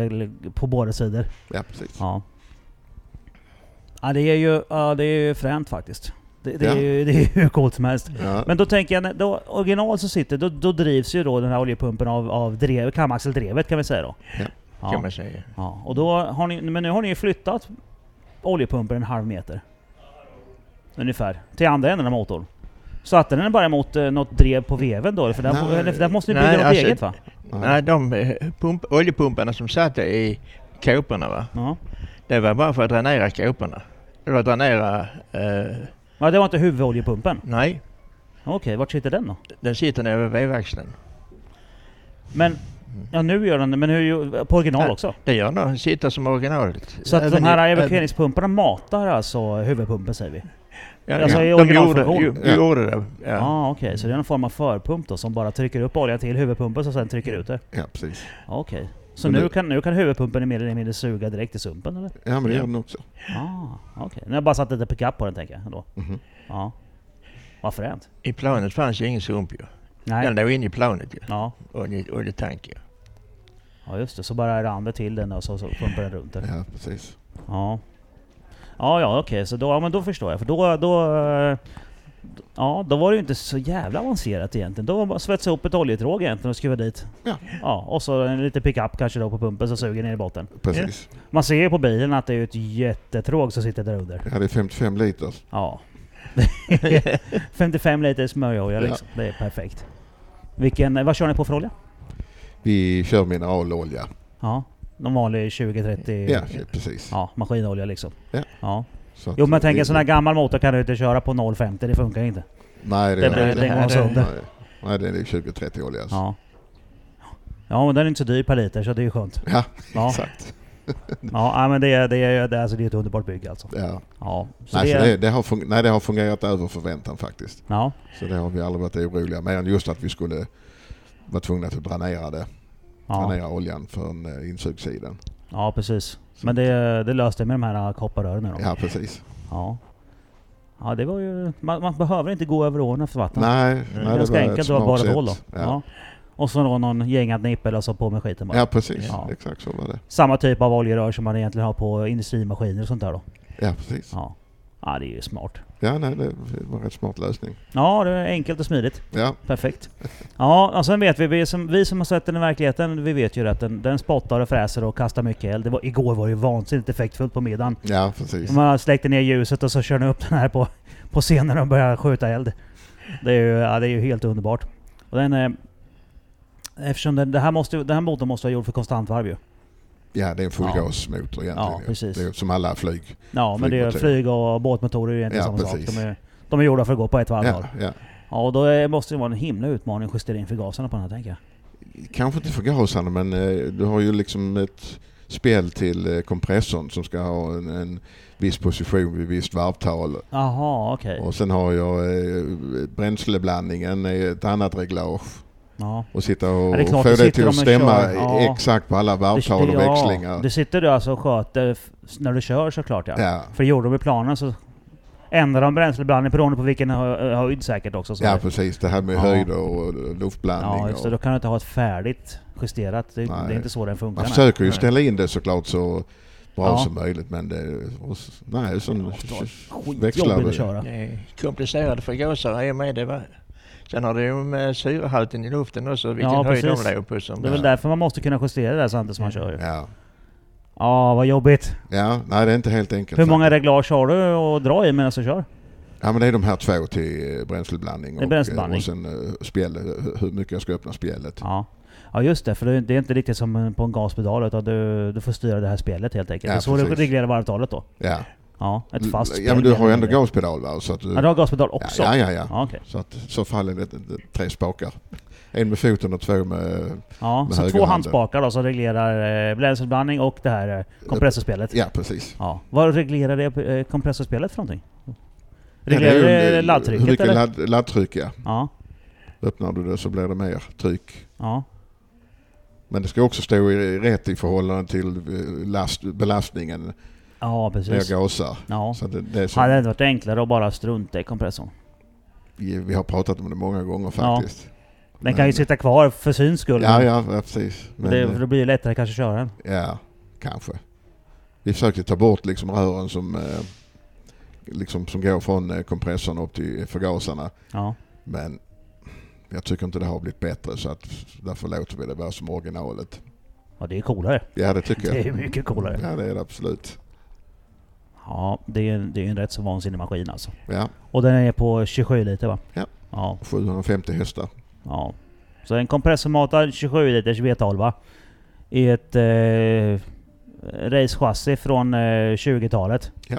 Speaker 1: på båda sidor.
Speaker 2: Ja, precis.
Speaker 1: Ja. Ja det är ju, ja, det är ju fränt faktiskt. Det, det,
Speaker 2: Ja.
Speaker 1: är ju, det är ju hur coolt som helst.
Speaker 2: Ja.
Speaker 1: Men då tänker jag, när- då, original så sitter, då, då drivs ju då den här oljepumpen av, av drev, kamaxeldrevet kan vi säga då.
Speaker 2: Ja.
Speaker 3: kan
Speaker 1: Ja.
Speaker 3: man säga.
Speaker 1: ja. Och då har ni, men nu har ni ju flyttat oljepumpen en halv meter. Ungefär. Till andra änden av motorn. Satte den bara mot eh, något drev på veven då? För där,
Speaker 2: Nej.
Speaker 1: eller, för där måste ni bygga
Speaker 3: Nej,
Speaker 1: något
Speaker 3: alltså-
Speaker 1: eget va?
Speaker 2: Ja.
Speaker 3: Nej, de eh, pump, oljepumparna som satt i kåporna va,
Speaker 1: Ja.
Speaker 3: det var bara för att dränera kåporna. Eller dränera... Eh,
Speaker 1: ja, det var inte huvudoljepumpen?
Speaker 3: nej,
Speaker 1: Okej, vart sitter den då?
Speaker 3: den sitter nere vid vevaxeln.
Speaker 1: Men, ja nu gör den det, men hur, på original
Speaker 3: Nej.
Speaker 1: också?
Speaker 3: Det gör den, den sitter som originalet.
Speaker 1: Så att
Speaker 3: Även
Speaker 1: de
Speaker 3: i-
Speaker 1: här
Speaker 3: även-
Speaker 1: evakueringspumparna matar alltså huvudpumpen säger vi?
Speaker 3: Ja,
Speaker 1: alltså
Speaker 3: ja,
Speaker 1: i
Speaker 3: de gjorde,
Speaker 1: originalfunktion.
Speaker 3: ju,
Speaker 2: Ja.
Speaker 3: gjorde det. Ja.
Speaker 1: Ja ah, okej, så det är någon form av förpump då som bara trycker upp olja till huvudpumpen som sen trycker ut det?
Speaker 2: ja, precis.
Speaker 1: Ja, Okej. Så
Speaker 2: Men
Speaker 1: nu
Speaker 2: det-
Speaker 1: kan, nu kan huvudpumpen mer eller mindre suga direkt i sumpen eller?
Speaker 2: Ja, men det
Speaker 3: Ja.
Speaker 2: gör den också.
Speaker 1: Ah, okej. Nu har jag bara satt lite pickup på den tänker jag ändå.
Speaker 2: Mhm.
Speaker 1: Ja. Vad fränt.
Speaker 3: I planet fanns ju ingen sump ju.
Speaker 1: Nej.
Speaker 3: Den låg inne i planet ju.
Speaker 1: Ja.
Speaker 3: Olje- Oljetank ju.
Speaker 1: ja, just det. Så bara rann det till den och så, så pumpar den runt det.
Speaker 2: Ja, precis.
Speaker 1: Ja. Ja, ja okej, så då, ja, men då förstår jag. För då, då, eh, ja, då var det ju inte så jävla avancerat egentligen. Då var det bara att svetsa ihop ett oljetråg egentligen och skruva dit.
Speaker 2: Ja.
Speaker 1: ja och så en liten pickup kanske då på pumpen som suger ner i botten.
Speaker 2: precis.
Speaker 1: Man ser ju på bilen att det är ju ett jättetråg som sitter där under.
Speaker 2: Ja, det är 55 liter.
Speaker 1: Ja. 55 liter smörjolja liksom. Det är perfekt. Vilken, vad kör ni på för olja?
Speaker 2: Vi kör mineralolja.
Speaker 1: Ja, någon vanlig 20-30?
Speaker 2: Ja, precis.
Speaker 1: Ja, maskinolja liksom.
Speaker 2: Ja.
Speaker 1: ja.
Speaker 2: Så att
Speaker 1: Jo men jag tänker
Speaker 2: det-
Speaker 1: en sån här gammal motor kan du inte köra på 0,50, det funkar inte.
Speaker 2: Nej, det,
Speaker 1: Det
Speaker 2: gör
Speaker 1: blir
Speaker 2: jag
Speaker 1: den
Speaker 2: inte.
Speaker 1: går
Speaker 3: Nej,
Speaker 1: sönder.
Speaker 2: Nej. Nej, det är 20-30 olja. Alltså.
Speaker 1: Ja. Ja men den är inte så dyr per liter så det är ju skönt.
Speaker 2: Ja,
Speaker 1: Ja,
Speaker 2: exakt.
Speaker 1: ja nej, men det är, det är, det är, alltså, det är ett underbart bygge alltså.
Speaker 2: Ja.
Speaker 1: Ja. Så
Speaker 2: Nej,
Speaker 1: det,
Speaker 2: för
Speaker 1: är,
Speaker 2: det, det har fun- nej, det har fungerat över förväntan faktiskt.
Speaker 1: ja.
Speaker 2: Så det har vi aldrig varit oroliga mer än just att vi skulle vara tvungna att dränera det.
Speaker 1: Ja,
Speaker 2: Dränera oljan från eh, insugssidan.
Speaker 1: ja precis. Men det, det löste jag med de här äh, kopparrören nu då.
Speaker 2: Ja, precis.
Speaker 1: Ja. Ja det var ju... Man, man behöver inte gå över åarna för vatten.
Speaker 2: Nej,
Speaker 3: är
Speaker 2: nej,
Speaker 1: det är
Speaker 2: det
Speaker 1: ganska
Speaker 2: var ett
Speaker 1: enkelt, det var
Speaker 2: smart
Speaker 1: bara ett
Speaker 2: sätt.
Speaker 1: hål då. Ja.
Speaker 2: Ja,
Speaker 1: Och så då någon gängad nippel och så på med skiten bara.
Speaker 2: ja precis.
Speaker 1: Ja.
Speaker 2: Exakt så var det.
Speaker 1: Samma typ av oljerör som man egentligen har på industrimaskiner och sånt där då.
Speaker 2: Ja, precis.
Speaker 1: Ja. Ja det är ju smart.
Speaker 2: Ja, nej, det var en rätt smart lösning.
Speaker 1: Ja, det är enkelt och smidigt.
Speaker 2: Ja,
Speaker 1: Perfekt. Ja, och sen vet vi, vi som, vi som har sett den i verkligheten, vi vet ju att den, den spottar och fräser och kastar mycket eld. Det var, igår var det ju vansinnigt effektfullt på middagen.
Speaker 2: ja precis.
Speaker 1: Man släckte ner ljuset och så körde upp den här på, på scenen och började skjuta eld. Det är ju, ja, det är ju helt underbart. Och den, eh, eftersom den, det här måste, ju- den här motorn måste vara gjord för konstantvarv ju.
Speaker 2: Ja, det är en
Speaker 1: Ja,
Speaker 2: fullgasmotor egentligen. ju.
Speaker 1: precis.
Speaker 2: Det är som alla flyg.
Speaker 1: Ja, men det är ju
Speaker 2: Flygmotor.
Speaker 1: flyg och båtmotorer är ju egentligen
Speaker 2: Ja,
Speaker 1: samma
Speaker 2: precis.
Speaker 1: sak. De är, de är gjorda för att gå på ett varv var.
Speaker 2: Ja, ja.
Speaker 1: Ja, och då är, måste det vara en himla utmaning att justera in förgasarna på den här tänker jag.
Speaker 2: Kanske inte förgasande men eh, du har ju liksom ett spel till eh, kompressorn som ska ha en, en viss position vid visst varvtal.
Speaker 1: Eh. Jaha, okej.
Speaker 2: Och sen har jag eh, bränsleblandningen i ett annat reglage.
Speaker 1: Ja.
Speaker 2: Och sitta och
Speaker 1: Ja, det är klart,
Speaker 2: få
Speaker 1: då
Speaker 2: det
Speaker 1: sitter
Speaker 2: till
Speaker 1: de
Speaker 2: att
Speaker 1: och
Speaker 2: stämma
Speaker 1: kör. Ja.
Speaker 2: exakt på alla varvtal
Speaker 1: det,
Speaker 2: och växlingar.
Speaker 1: Ja, det sitter du alltså och sköter f- när du kör såklart ja.
Speaker 2: Ja,
Speaker 1: För gjorde de i planen så ändrar de bränsleblandning beroende på vilken hö- höjd säkert också. Så
Speaker 2: ja
Speaker 1: det-
Speaker 2: precis. Det här med
Speaker 1: Ja.
Speaker 2: höjd och luftblandning.
Speaker 1: ja just det.
Speaker 2: och-
Speaker 1: Då kan du inte ha ett färdigt justerat. Det, det
Speaker 2: Nej.
Speaker 1: är inte så den funkar.
Speaker 2: Man
Speaker 1: nej.
Speaker 2: försöker ju
Speaker 3: Nej.
Speaker 2: ställa in det såklart så bra
Speaker 1: Ja.
Speaker 2: som möjligt. Men det, och, s- nej, sån växlar
Speaker 1: Skitjobbigt
Speaker 2: det.
Speaker 1: att köra.
Speaker 3: Det är komplicerade förgasare är med det va. Sen har det ju med syrehalten i luften också, vilken
Speaker 1: Ja,
Speaker 3: höjd
Speaker 1: precis.
Speaker 3: de låg på. Som
Speaker 1: Det är väl därför man måste kunna justera det här samtidigt som man kör ju. Ja,
Speaker 2: Ja.
Speaker 1: vad jobbigt.
Speaker 2: ja, nej det är inte helt enkelt.
Speaker 1: Hur många reglage har du att dra i medan du kör?
Speaker 2: Ja men det är de här två till eh, bränsleblandning
Speaker 1: Det är
Speaker 2: och,
Speaker 1: bränsleblandning.
Speaker 2: och sen eh, spjäll, eh, hur mycket jag ska öppna spjället.
Speaker 1: Ja. ja, just det. För det är- det är inte riktigt som på en gaspedal utan du, du får styra det här spelet helt enkelt.
Speaker 2: Ja,
Speaker 1: det är så du
Speaker 2: precis.
Speaker 1: reglerar varvtalet då.
Speaker 2: Ja.
Speaker 1: Ja, ett fast
Speaker 2: ja men
Speaker 1: spjäll
Speaker 2: du har ju
Speaker 1: menar
Speaker 2: ändå gaspedal va? Så att du,
Speaker 1: Ja, du har gaspedal också?
Speaker 2: Ja, ja, ja.
Speaker 1: Ja, okej.
Speaker 2: Så att i så fall är det det- tre spakar. En med foten och två med...
Speaker 1: ja
Speaker 2: Med
Speaker 1: så två
Speaker 2: högerhanden.
Speaker 1: handspakar då som reglerar eh, bränsleutblandning och det här eh, kompressorspelet?
Speaker 2: Ja precis.
Speaker 1: Ja. Vad reglerar det eh, kompressorspelet för någonting?
Speaker 2: Ja,
Speaker 1: Reglerar
Speaker 2: ju,
Speaker 1: det,
Speaker 2: eh, Hur
Speaker 1: laddtrycket
Speaker 2: mycket
Speaker 1: eller?
Speaker 2: ladd, laddtryck ja.
Speaker 1: Ja,
Speaker 2: Öppnar du det så blir det mer tryck.
Speaker 1: ja,
Speaker 2: Men det ska också stå i, rätt i förhållande till eh, last, belastningen
Speaker 1: ja
Speaker 2: när jag
Speaker 1: precis.
Speaker 2: gasar.
Speaker 1: Ja.
Speaker 2: Så att det, det är
Speaker 1: Hade det inte
Speaker 2: som,
Speaker 1: varit enklare att bara strunta i kompressorn?
Speaker 2: vi vi har pratat om det många gånger faktiskt.
Speaker 1: Den kan ju
Speaker 2: Men-
Speaker 1: sitta kvar för syns skull.
Speaker 2: Ja, ja, ja precis. Men,
Speaker 1: det,
Speaker 2: eh,
Speaker 1: för då blir det lättare kanske att köra den.
Speaker 2: Ja, kanske. Vi försökte ta bort liksom rören som, eh, liksom som går från eh, kompressorn upp till förgasarna.
Speaker 1: Ja.
Speaker 2: Men jag tycker inte det har blivit bättre så att därför låter vi det vara som originalet.
Speaker 1: ja, det är coolare.
Speaker 2: Ja det tycker
Speaker 1: Det är
Speaker 2: jag.
Speaker 1: mycket coolare.
Speaker 2: Ja det är det absolut.
Speaker 1: Ja, det är, det är en rätt så vansinnig maskin alltså.
Speaker 2: Ja,
Speaker 1: Och den är på 27 liter va?
Speaker 2: Ja.
Speaker 1: Ja.
Speaker 2: 750 hästar.
Speaker 1: ja. Så en kompressormatad 27 liters V12 i ett eh, racechassi från eh, 20-talet.
Speaker 2: Ja.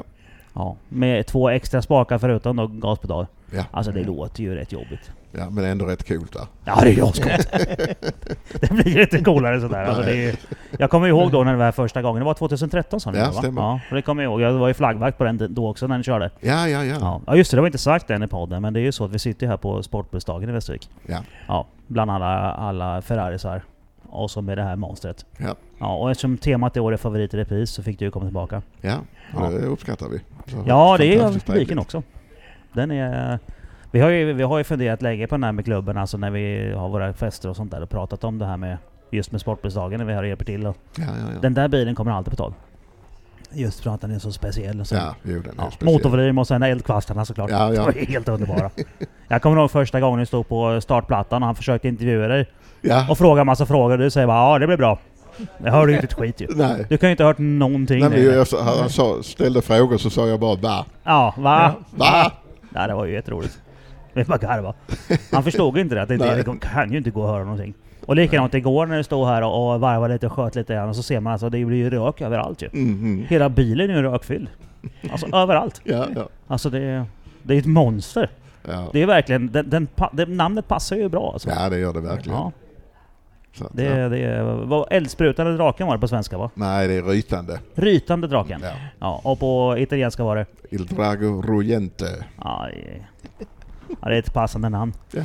Speaker 1: ja. Med två extra spakar förutom då gaspedal.
Speaker 2: Ja.
Speaker 1: Alltså det
Speaker 3: Mm.
Speaker 1: låter ju rätt jobbigt.
Speaker 2: Ja men ändå rätt coolt va?
Speaker 1: Ja det är jag Det blir ju inte coolare sådär. Alltså, det är ju, jag kommer ihåg då när det var första gången, det var 2013 sa ni
Speaker 2: Ja,
Speaker 1: va?
Speaker 2: stämmer.
Speaker 1: Ja, det kommer jag ihåg. Jag var ju flaggvakt på den då också när den körde.
Speaker 2: Ja, ja, ja.
Speaker 1: Ja, ja just det, det var inte sagt än i podden, men det är ju så att vi sitter ju här på Sportbussdagen i Västervik.
Speaker 2: Ja.
Speaker 1: Ja, bland alla, alla Ferrarisar. Och så med det här monstret.
Speaker 2: Ja.
Speaker 1: ja. Och eftersom temat i år är favorit i repris så fick du ju komma tillbaka.
Speaker 2: Ja, och det uppskattar vi. Så
Speaker 1: Ja, det är ju av
Speaker 2: fantastiskt
Speaker 1: publiken
Speaker 2: trevligt.
Speaker 1: också. Den är... Vi har, ju, vi har ju funderat länge på den här med klubben, alltså när vi har våra fester och sånt där och pratat om det här med just med Sportbussdagen när vi här och hjälper till. Och
Speaker 2: Ja, ja, ja.
Speaker 1: den där bilen kommer alltid på tal. Just för att den är så speciell. Och så.
Speaker 2: Ja, jo, den är
Speaker 1: Ja,
Speaker 2: speciell.
Speaker 1: motorvolym och sen eldkvastarna såklart.
Speaker 2: Ja, ja.
Speaker 1: De var helt underbara. Jag kommer ihåg första gången du stod på startplattan och han försökte intervjua dig
Speaker 2: Ja,
Speaker 1: och fråga massa frågor och du säger bara ja det blir bra. Jag hörde ju inte ett skit ju.
Speaker 2: nej.
Speaker 1: Du kan ju inte ha hört någonting.
Speaker 2: Nej, men
Speaker 1: nu.
Speaker 2: jag, sa- han sa, ställde frågor så sa jag bara va?
Speaker 1: Ja, va?
Speaker 2: Va?
Speaker 1: Ja, det var ju jätteroligt. Vi bara garva. Han förstod ju inte det. Att det, inte,
Speaker 2: Nej.
Speaker 1: det kan ju inte gå att höra någonting. Och likadant igår när du stod här och och varvade lite och sköt lite grann och så ser man alltså det blir ju rök överallt ju.
Speaker 2: Mhm.
Speaker 1: Hela bilen är ju rökfylld. Alltså överallt.
Speaker 2: Ja, ja.
Speaker 1: Alltså det, det är ett monster.
Speaker 2: Ja.
Speaker 1: Det är verkligen, den, den, pa- det, namnet passar ju bra alltså.
Speaker 2: ja, det gör det verkligen.
Speaker 1: Ja,
Speaker 2: Så att,
Speaker 1: det,
Speaker 2: ja.
Speaker 1: det är, vad, eldsprutande draken var det på svenska va?
Speaker 2: Nej, det är rytande.
Speaker 1: Rytande draken.
Speaker 2: Ja.
Speaker 1: Ja, och på italienska var det?
Speaker 2: Il drago rullente.
Speaker 1: Aj. Ja, det är ett passande namn.
Speaker 2: Ja.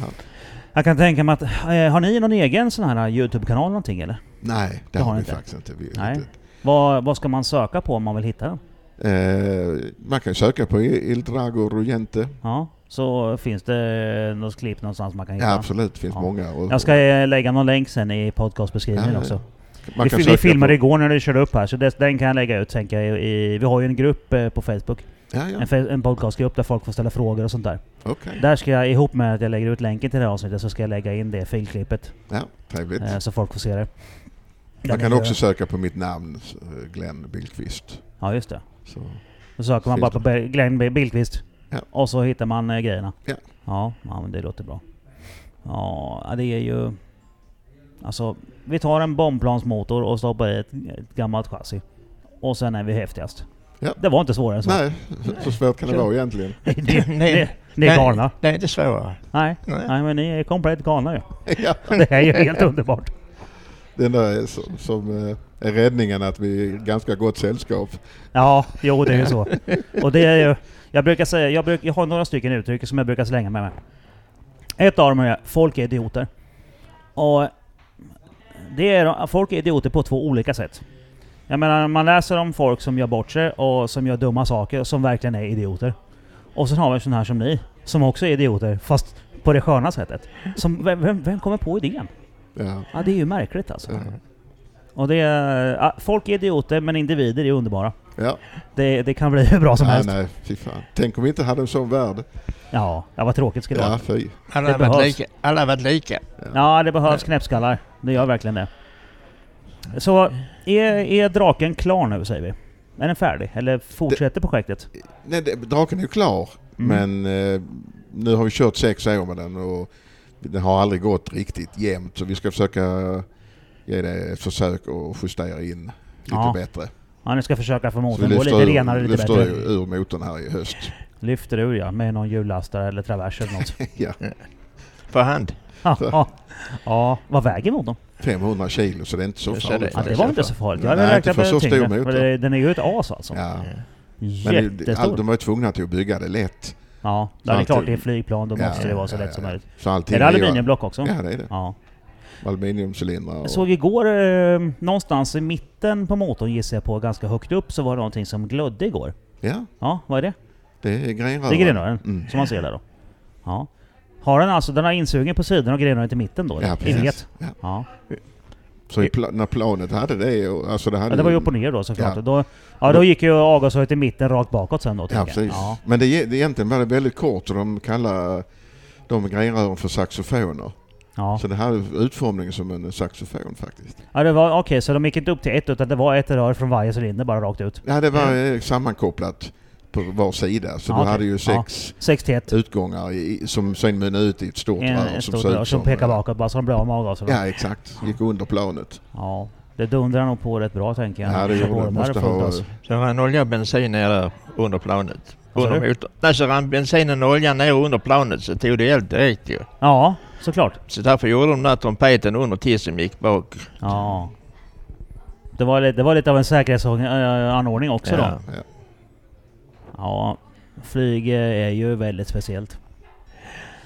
Speaker 1: Jag kan tänka mig att, eh, har ni någon egen sån här eh, Youtube-kanal någonting eller?
Speaker 2: Nej, det,
Speaker 1: Det har
Speaker 2: har vi
Speaker 1: inte.
Speaker 2: faktiskt inte. Vi-
Speaker 1: Nej.
Speaker 2: inte.
Speaker 1: Vad, vad ska man söka på om man vill hitta den?
Speaker 2: Eh, man kan söka på Il Il drago rullente.
Speaker 1: Ja, så finns det något klipp någonstans man kan hitta.
Speaker 2: Ja, absolut. Det finns
Speaker 1: Ja.
Speaker 2: många. Och,
Speaker 1: Jag ska eh, lägga någon länk sen i podcastbeskrivningen
Speaker 2: Ja,
Speaker 1: också.
Speaker 2: man
Speaker 1: Vi,
Speaker 2: kan
Speaker 1: fi- vi
Speaker 2: söka
Speaker 1: filmade
Speaker 2: på,
Speaker 1: igår när du körde upp här, så det, den kan jag lägga ut tänker jag. I, i, vi har ju en grupp eh, på Facebook.
Speaker 2: Ja, ja.
Speaker 1: En, fe- en podcastgrupp där folk får ställa frågor och sånt där.
Speaker 2: Okej.
Speaker 1: Där ska jag, ihop med att jag lägger ut länken till det här avsnittet, så ska jag lägga in det filklippet.
Speaker 2: Ja, trevligt.
Speaker 1: Eh, så folk får se det. Den
Speaker 2: man kan
Speaker 1: är-
Speaker 2: också söka på mitt namn, eh, Glenn Billqvist.
Speaker 1: Ja, just det.
Speaker 2: Så,
Speaker 1: Då söker man bara på Be- Glenn B- Billqvist.
Speaker 2: Ja.
Speaker 1: Och så hittar man eh, grejerna.
Speaker 2: Ja.
Speaker 1: ja. Ja, men det låter bra. Ja, ja, det är ju... Alltså, vi tar en bombplansmotor och stoppar i ett, ett gammalt chassi. Och sen är vi häftigast.
Speaker 2: Ja.
Speaker 1: Det var inte svårare än så.
Speaker 2: nej, så svårt kan det
Speaker 3: Kör.
Speaker 2: vara egentligen.
Speaker 1: Ni, ni, ni,
Speaker 3: Nej.
Speaker 1: ni är galna.
Speaker 3: Det är inte svårare.
Speaker 1: Nej.
Speaker 3: Nej.
Speaker 1: Nej, men ni är komplett galna ju.
Speaker 2: ja.
Speaker 1: Det här är ju helt underbart.
Speaker 2: Det enda är som, som eh, är räddningen att vi är ganska gott sällskap.
Speaker 1: Ja, jo det är ju så. Och det är ju, jag brukar säga, jag, bruk, jag har några stycken uttryck som jag brukar slänga med mig. Ett av dem är folk är idioter. Och det är, folk är idioter på två olika sätt. Jag menar, man läser om folk som gör bort sig och som gör dumma saker och som verkligen är idioter. Och sen har vi sådana här som ni, som också är idioter, fast på det sköna sättet. Som, vem, vem, vem kommer på idén?
Speaker 2: Ja. Mm.
Speaker 1: Ja, det är ju märkligt alltså.
Speaker 2: Ja.
Speaker 1: Och det är, ja, folk är idioter men individer är underbara.
Speaker 2: Ja.
Speaker 1: Det, det kan bli hur bra som
Speaker 2: nej,
Speaker 1: helst.
Speaker 2: nej, fy fan. Tänk om vi inte hade en sån värld.
Speaker 1: Ja, ja, vad tråkigt skulle det
Speaker 2: Ja,
Speaker 1: vara.
Speaker 2: fy.
Speaker 3: Alla har
Speaker 1: Det
Speaker 3: varit
Speaker 1: behövs.
Speaker 3: lika. Alla har varit lika.
Speaker 1: Ja, det behövs knäppskallar. Det gör verkligen det. Så är, är draken klar nu säger vi? Är den färdig? Eller fortsätter projektet?
Speaker 2: Nej, det, draken är ju klar.
Speaker 1: Mm.
Speaker 2: Men eh, nu har vi kört sex år med den och den har aldrig gått riktigt jämnt. Så vi ska försöka ge det ett försök och justera in lite
Speaker 1: Ja.
Speaker 2: bättre.
Speaker 1: Ja, ni ska försöka få
Speaker 2: Så vi
Speaker 1: motorn gå lite renare, lite
Speaker 2: lyfter
Speaker 1: bättre.
Speaker 2: ur- ur motorn här i höst.
Speaker 1: Lyfter ur ja, med någon hjullastare eller travers eller något.
Speaker 2: ja,
Speaker 3: För hand.
Speaker 1: ja, ja. ja, vad väger motorn?
Speaker 2: 500 kilo så det är inte så
Speaker 3: Så
Speaker 2: farligt.
Speaker 3: det-
Speaker 1: Ja, det
Speaker 2: faktiskt.
Speaker 1: var inte så farligt. Jag hade
Speaker 2: Nej, inte
Speaker 1: räknat
Speaker 2: för
Speaker 1: med
Speaker 2: så stor
Speaker 1: tyngre. Men
Speaker 2: motor.
Speaker 1: det- Den är ju ett as alltså.
Speaker 2: Ja. Men det- det, all,
Speaker 1: Jättestor.
Speaker 2: de var ju tvungna till att bygga det lätt.
Speaker 1: Ja, det är
Speaker 2: allt-
Speaker 1: klart det är flygplan, då
Speaker 2: Ja,
Speaker 1: måste det vara så
Speaker 2: ja,
Speaker 1: lätt
Speaker 2: ja.
Speaker 1: som möjligt.
Speaker 2: Så allting
Speaker 1: Är det
Speaker 2: ju-
Speaker 1: aluminiumblock också?
Speaker 2: Ja, det är det.
Speaker 1: Ja.
Speaker 2: Aluminiumcylindrar och...
Speaker 1: Jag såg igår, eh, någonstans i mitten på motorn gissar jag på, ganska högt upp, så var det någonting som glödde igår.
Speaker 2: Ja,
Speaker 1: Ja, vad är det?
Speaker 2: det är grenrören.
Speaker 1: Det är grenrören,
Speaker 2: Mm.
Speaker 1: som man ser där då. Ja. Har den alltså, den har insugen på sidan och grenrören till mitten då?
Speaker 2: Ja,
Speaker 1: eller?
Speaker 2: precis.
Speaker 1: Inget.
Speaker 2: Ja.
Speaker 1: Ja.
Speaker 2: Så i pla- när planet hade det, och- alltså det hade
Speaker 1: Ja, det var ju
Speaker 2: ju-
Speaker 1: upp och ner då såklart.
Speaker 2: Ja.
Speaker 1: Ja. Då, ja, då gick ju avgasröret i mitten rakt bakåt sen då. tänker
Speaker 2: Ja,
Speaker 1: jag.
Speaker 2: precis.
Speaker 1: Ja.
Speaker 2: Men det, ge- det, egentligen var det väldigt kort och de kallar de grenrören för saxofoner.
Speaker 1: Ja.
Speaker 2: Så det här är utformningen som en saxofon faktiskt.
Speaker 1: ja, det var okej, så de gick inte upp till ett utan det var ett rör från varje cylinder bara rakt ut.
Speaker 2: Ja, det var eh, sammankopplat på var sida. Så
Speaker 1: Ja,
Speaker 2: du
Speaker 1: okej.
Speaker 2: hade ju sex
Speaker 1: 6 till 1.
Speaker 2: utgångar i, som sen mynnade ut i ett stort
Speaker 1: En,
Speaker 2: rör
Speaker 1: en
Speaker 2: som
Speaker 1: stor
Speaker 2: såg
Speaker 1: rör
Speaker 2: ut
Speaker 1: som
Speaker 2: som...
Speaker 1: pekar bakåt bara så de blir av med avgaserna.
Speaker 2: Ja, exakt. Gick under planet.
Speaker 1: Ja, det dundrar nog på rätt bra tänker jag.
Speaker 2: Ja, det gjorde
Speaker 1: På
Speaker 2: det.
Speaker 1: de här
Speaker 2: Måste
Speaker 1: fullt
Speaker 2: ha-
Speaker 1: alltså.
Speaker 3: Så rann olja och bensin ner där under planet.
Speaker 1: Vad sa
Speaker 3: Under
Speaker 1: du?
Speaker 3: motorn. Nej, så rann bensinen och oljan ner under planet så tog det eld direkt ju.
Speaker 1: Ja, såklart.
Speaker 3: Så därför gjorde de den där trumpeten under tills som gick bak.
Speaker 1: Ja. Det var, lite, det var lite av en säkerhetsanordning också då.
Speaker 3: Ja.
Speaker 1: Ja, flyg eh, är ju väldigt speciellt.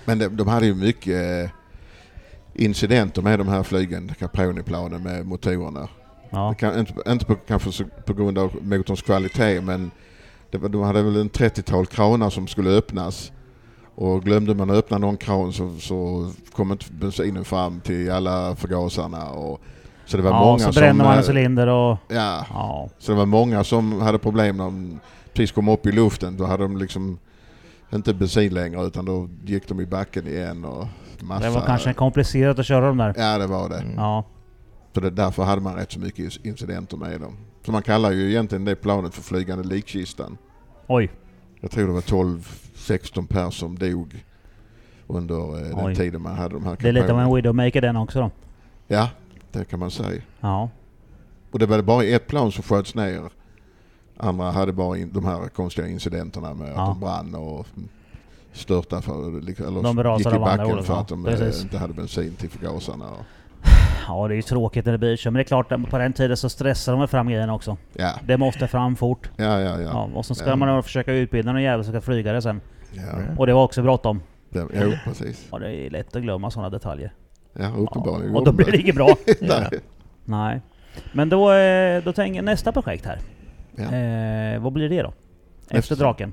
Speaker 2: Men de, de hade ju mycket eh, incidenter med de här flygen, Caproni-planen med motorerna.
Speaker 1: Ja.
Speaker 2: Det Kan, inte inte på, kanske så, på grund av motorns kvalitet men det, var- de hade väl en 30-tal kranar som skulle öppnas. Och glömde man att öppna någon kran så, så kom inte bensinen fram till alla förgasarna. Och, så det var
Speaker 1: Ja,
Speaker 2: många
Speaker 1: så
Speaker 2: som...
Speaker 1: bränner man alltså en
Speaker 2: eh,
Speaker 1: cylinder och...
Speaker 2: Ja,
Speaker 1: Ja.
Speaker 2: så det var många som hade problem när de precis kom upp i luften. Då hade de liksom inte bensin längre utan då gick de i backen igen och massa...
Speaker 1: Det var kanske komplicerat att köra de där.
Speaker 2: Ja det var det.
Speaker 3: Mm.
Speaker 1: Ja.
Speaker 2: Så det, därför hade man rätt så mycket incidenter med dem. Så man kallar ju egentligen det planet för flygande likkistan.
Speaker 1: Oj.
Speaker 2: Jag tror det var 12-16 pers som dog under eh, den
Speaker 1: Oj.
Speaker 2: tiden man hade de här
Speaker 1: Det är lite av
Speaker 2: kampanjerna.
Speaker 1: en Widowmaker den också då.
Speaker 2: Ja, det kan man säga.
Speaker 1: Ja.
Speaker 2: Och det var det bara ett plan som sköts ner. Andra hade bara in, de här konstiga incidenterna med
Speaker 1: Ja.
Speaker 2: att de brann och störtade för, liksom- eller
Speaker 1: De rasade
Speaker 2: gick i
Speaker 1: av andra
Speaker 2: backen
Speaker 1: ordet,
Speaker 2: för
Speaker 1: ja.
Speaker 2: att de eh,
Speaker 1: Precis.
Speaker 2: inte hade bensin till förgasarna. och-
Speaker 1: Ja, det är ju tråkigt när det blir så. Men det är klart, att på den tiden så stressar de väl fram grejerna också.
Speaker 2: Ja,
Speaker 1: Det måste fram fort.
Speaker 2: ja, ja. ja.
Speaker 1: Ja, och så ska
Speaker 2: Ja.
Speaker 1: man då försöka utbilda någon jävel som ska flyga det sen.
Speaker 2: ja.
Speaker 1: Och det var också bråttom.
Speaker 2: Det, jo, precis.
Speaker 1: Ja, det är lätt att glömma sådana detaljer.
Speaker 2: Ja,
Speaker 1: Ja.
Speaker 2: uppenbarligen.
Speaker 1: Och då blir det inget bra.
Speaker 2: Nej.
Speaker 1: Nej. Men då, eh, då tänker jag nästa projekt här.
Speaker 2: Ja.
Speaker 1: Eh, vad blir det då? Efter
Speaker 2: Nästa.
Speaker 1: draken?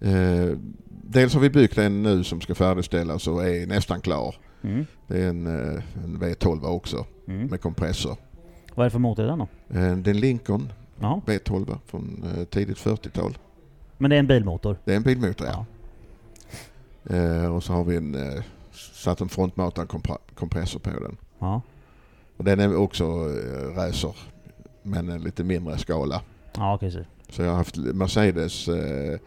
Speaker 2: Eh, dels har vi byggt en nu som ska färdigställas och är nästan klar.
Speaker 1: Mm.
Speaker 2: Det är en, eh, en V12 också
Speaker 1: Mm.
Speaker 2: med kompressor.
Speaker 1: Vad är det för motor i den då?
Speaker 2: Eh, det är en Lincoln
Speaker 1: Ja.
Speaker 2: V12 från eh, tidigt 40-tal.
Speaker 1: Men det är en bilmotor?
Speaker 2: Det är en bilmotor ja. Eh, och så har vi en, eh, satt en frontmatad kompra- kompressor på den.
Speaker 1: Ja.
Speaker 2: Och den är också eh, racer men en lite mindre skala.
Speaker 1: Ja, okej. så.
Speaker 2: Så jag har haft Mercedes eh,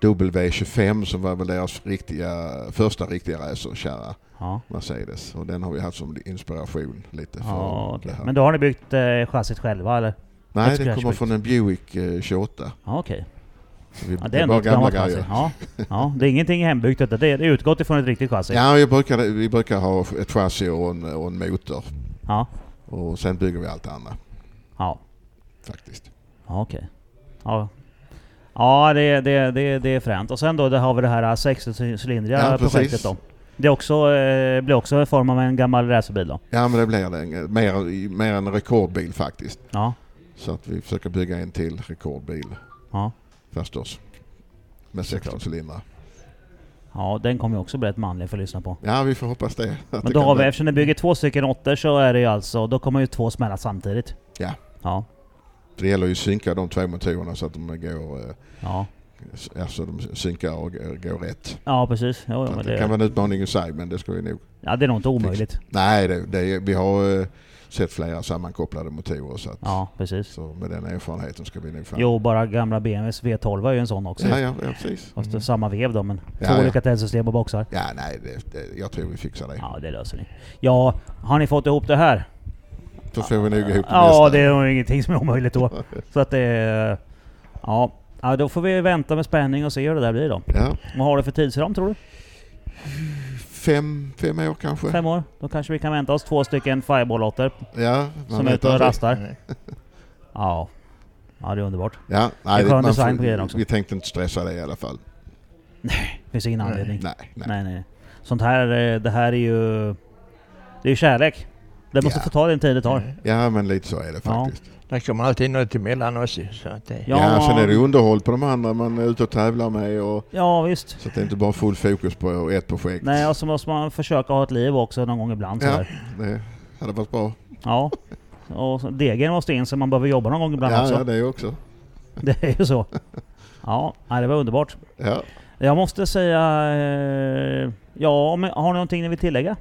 Speaker 2: W25 som var väl deras riktiga, första riktiga racerkärra.
Speaker 1: Ja.
Speaker 2: Mercedes och den har vi haft som inspiration lite för
Speaker 1: Ja, okej.
Speaker 2: det här.
Speaker 1: Men då har ni byggt eh, chassit själva eller?
Speaker 2: Nej,
Speaker 1: ett
Speaker 2: det kommer
Speaker 1: scratchbit.
Speaker 2: från en Buick eh, 28.
Speaker 1: Ja, okej.
Speaker 2: Så vi,
Speaker 1: Ja,
Speaker 2: det
Speaker 1: det är
Speaker 2: är
Speaker 1: ändå
Speaker 2: bara
Speaker 1: ett
Speaker 2: gamla
Speaker 1: gammalt chassi.
Speaker 2: grejer.
Speaker 1: Ja. ja, det är ingenting hembyggt detta. Det är det är utgått ifrån ett riktigt chassi.
Speaker 2: Ja, jag brukar, vi brukar ha ett chassi och en, och en motor
Speaker 1: Ja.
Speaker 2: och sen bygger vi allt annat
Speaker 1: Ja,
Speaker 2: faktiskt.
Speaker 1: ja okej. Ja. Ja, det, det, det, det är fränt. Och sen då, där har vi det här äh, 60-cylindriga
Speaker 2: Ja, precis.
Speaker 1: projektet då. Det är också, eh, blir också i form av en gammal racerbil då.
Speaker 2: Ja, men det blir det. en- Mer, mer en rekordbil faktiskt.
Speaker 1: Ja.
Speaker 2: Så att vi försöker bygga en till rekordbil
Speaker 1: Ja.
Speaker 2: förstås. Med 16 cylindrar.
Speaker 1: Ja, den kommer ju också bli rätt manlig för att lyssna på.
Speaker 2: Ja, vi får hoppas det. Att det
Speaker 1: Men då
Speaker 2: kan
Speaker 1: har vi,
Speaker 2: bli-
Speaker 1: eftersom ni bygger två stycken åttor så är det ju alltså, då kommer ju två smälla samtidigt.
Speaker 2: Ja.
Speaker 1: Ja.
Speaker 2: Det gäller ju att synka de två motorerna så att de går, eh,
Speaker 1: Ja,
Speaker 2: s- alltså de synkar och går går rätt.
Speaker 1: ja precis. Jo, jo,
Speaker 2: Så att
Speaker 1: men
Speaker 2: det kan
Speaker 1: det,
Speaker 2: vara en utmaning i sig men det ska vi nog...
Speaker 1: ja, det är nog inte omöjligt.
Speaker 2: Nej, det, det, är- vi har eh, sett flera sammankopplade motorer så, att,
Speaker 1: Ja, precis.
Speaker 2: så med den erfarenheten ska vi nog fan...
Speaker 1: Jo, bara gamla BMWs V12 är ju en sån också.
Speaker 2: Ja, ja, ja, precis.
Speaker 1: Fast det är
Speaker 3: Mm.
Speaker 1: samma vev då, men
Speaker 2: Ja,
Speaker 1: två
Speaker 2: ja.
Speaker 1: olika täljsystem och boxar.
Speaker 2: Ja, nej, det, det, jag tror vi fixar det.
Speaker 1: Ja, det löser ni. Ja, har ni fått ihop det här?
Speaker 2: Så får vi nog ihop det
Speaker 1: Ja,
Speaker 2: nästa.
Speaker 1: det är nog ingenting som är omöjligt då. Så att det... är- Ja. ja, då får vi vänta med spänning och se hur det där blir då.
Speaker 2: Ja.
Speaker 1: Vad har du för tidsram tror du?
Speaker 2: Fem, fem år kanske?
Speaker 1: Fem år? Då kanske vi kan vänta oss två stycken Fireball-lotter
Speaker 2: Ja, man
Speaker 1: som är
Speaker 2: vet
Speaker 1: ute och
Speaker 2: aldrig.
Speaker 1: rastar. Ja. Ja, det är underbart.
Speaker 2: Ja, nej,
Speaker 1: Det är skön
Speaker 2: man
Speaker 1: design på grejerna
Speaker 2: får,
Speaker 1: också.
Speaker 2: vi tänkte inte stressa det i alla fall.
Speaker 1: Det finns ingen
Speaker 3: Nej.
Speaker 1: anledning. Nej.
Speaker 2: Nej, nej.
Speaker 1: nej, Sånt här, eh, det här är ju... Det är ju kärlek. Det måste
Speaker 2: Ja.
Speaker 1: få ta den tid det tar.
Speaker 2: Ja, men lite så är det
Speaker 1: Ja.
Speaker 2: faktiskt.
Speaker 3: Det kommer alltid något emellan oss ju, så att det...
Speaker 1: Ja.
Speaker 2: Ja, sen är det underhåll på de andra man är ute och tävlar med och
Speaker 1: Ja, visst.
Speaker 2: så att det inte bara är full fokus på ett projekt.
Speaker 1: Nej, och så måste man försöka ha ett liv också någon gång ibland
Speaker 2: ja,
Speaker 1: sådär.
Speaker 2: det hade varit bra.
Speaker 1: Ja. Och så- degen måste in så man behöver jobba någon gång ibland
Speaker 2: Ja,
Speaker 1: också.
Speaker 2: ja, det också.
Speaker 1: Det är ju så. Ja, nej, det var underbart.
Speaker 2: Ja.
Speaker 1: Jag måste säga... Eh, ja, om, har ni någonting ni vill tillägga?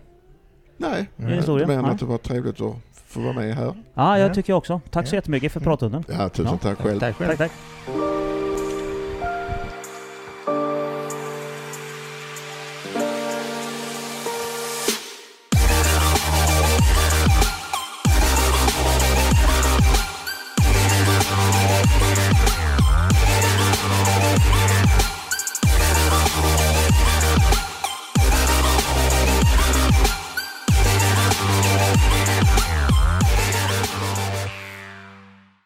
Speaker 2: Nej,
Speaker 3: Det är
Speaker 2: inte
Speaker 1: historia.
Speaker 2: mer än
Speaker 1: Nej.
Speaker 2: att det var trevligt att få vara med här.
Speaker 1: Ja, jag
Speaker 3: Ja.
Speaker 1: tycker jag också. Tack så
Speaker 3: Ja.
Speaker 1: jättemycket för pratstunden.
Speaker 2: Ja, tusen
Speaker 1: Ja.
Speaker 2: tack själv.
Speaker 3: Tack
Speaker 1: Tack,
Speaker 3: själv.
Speaker 1: tack.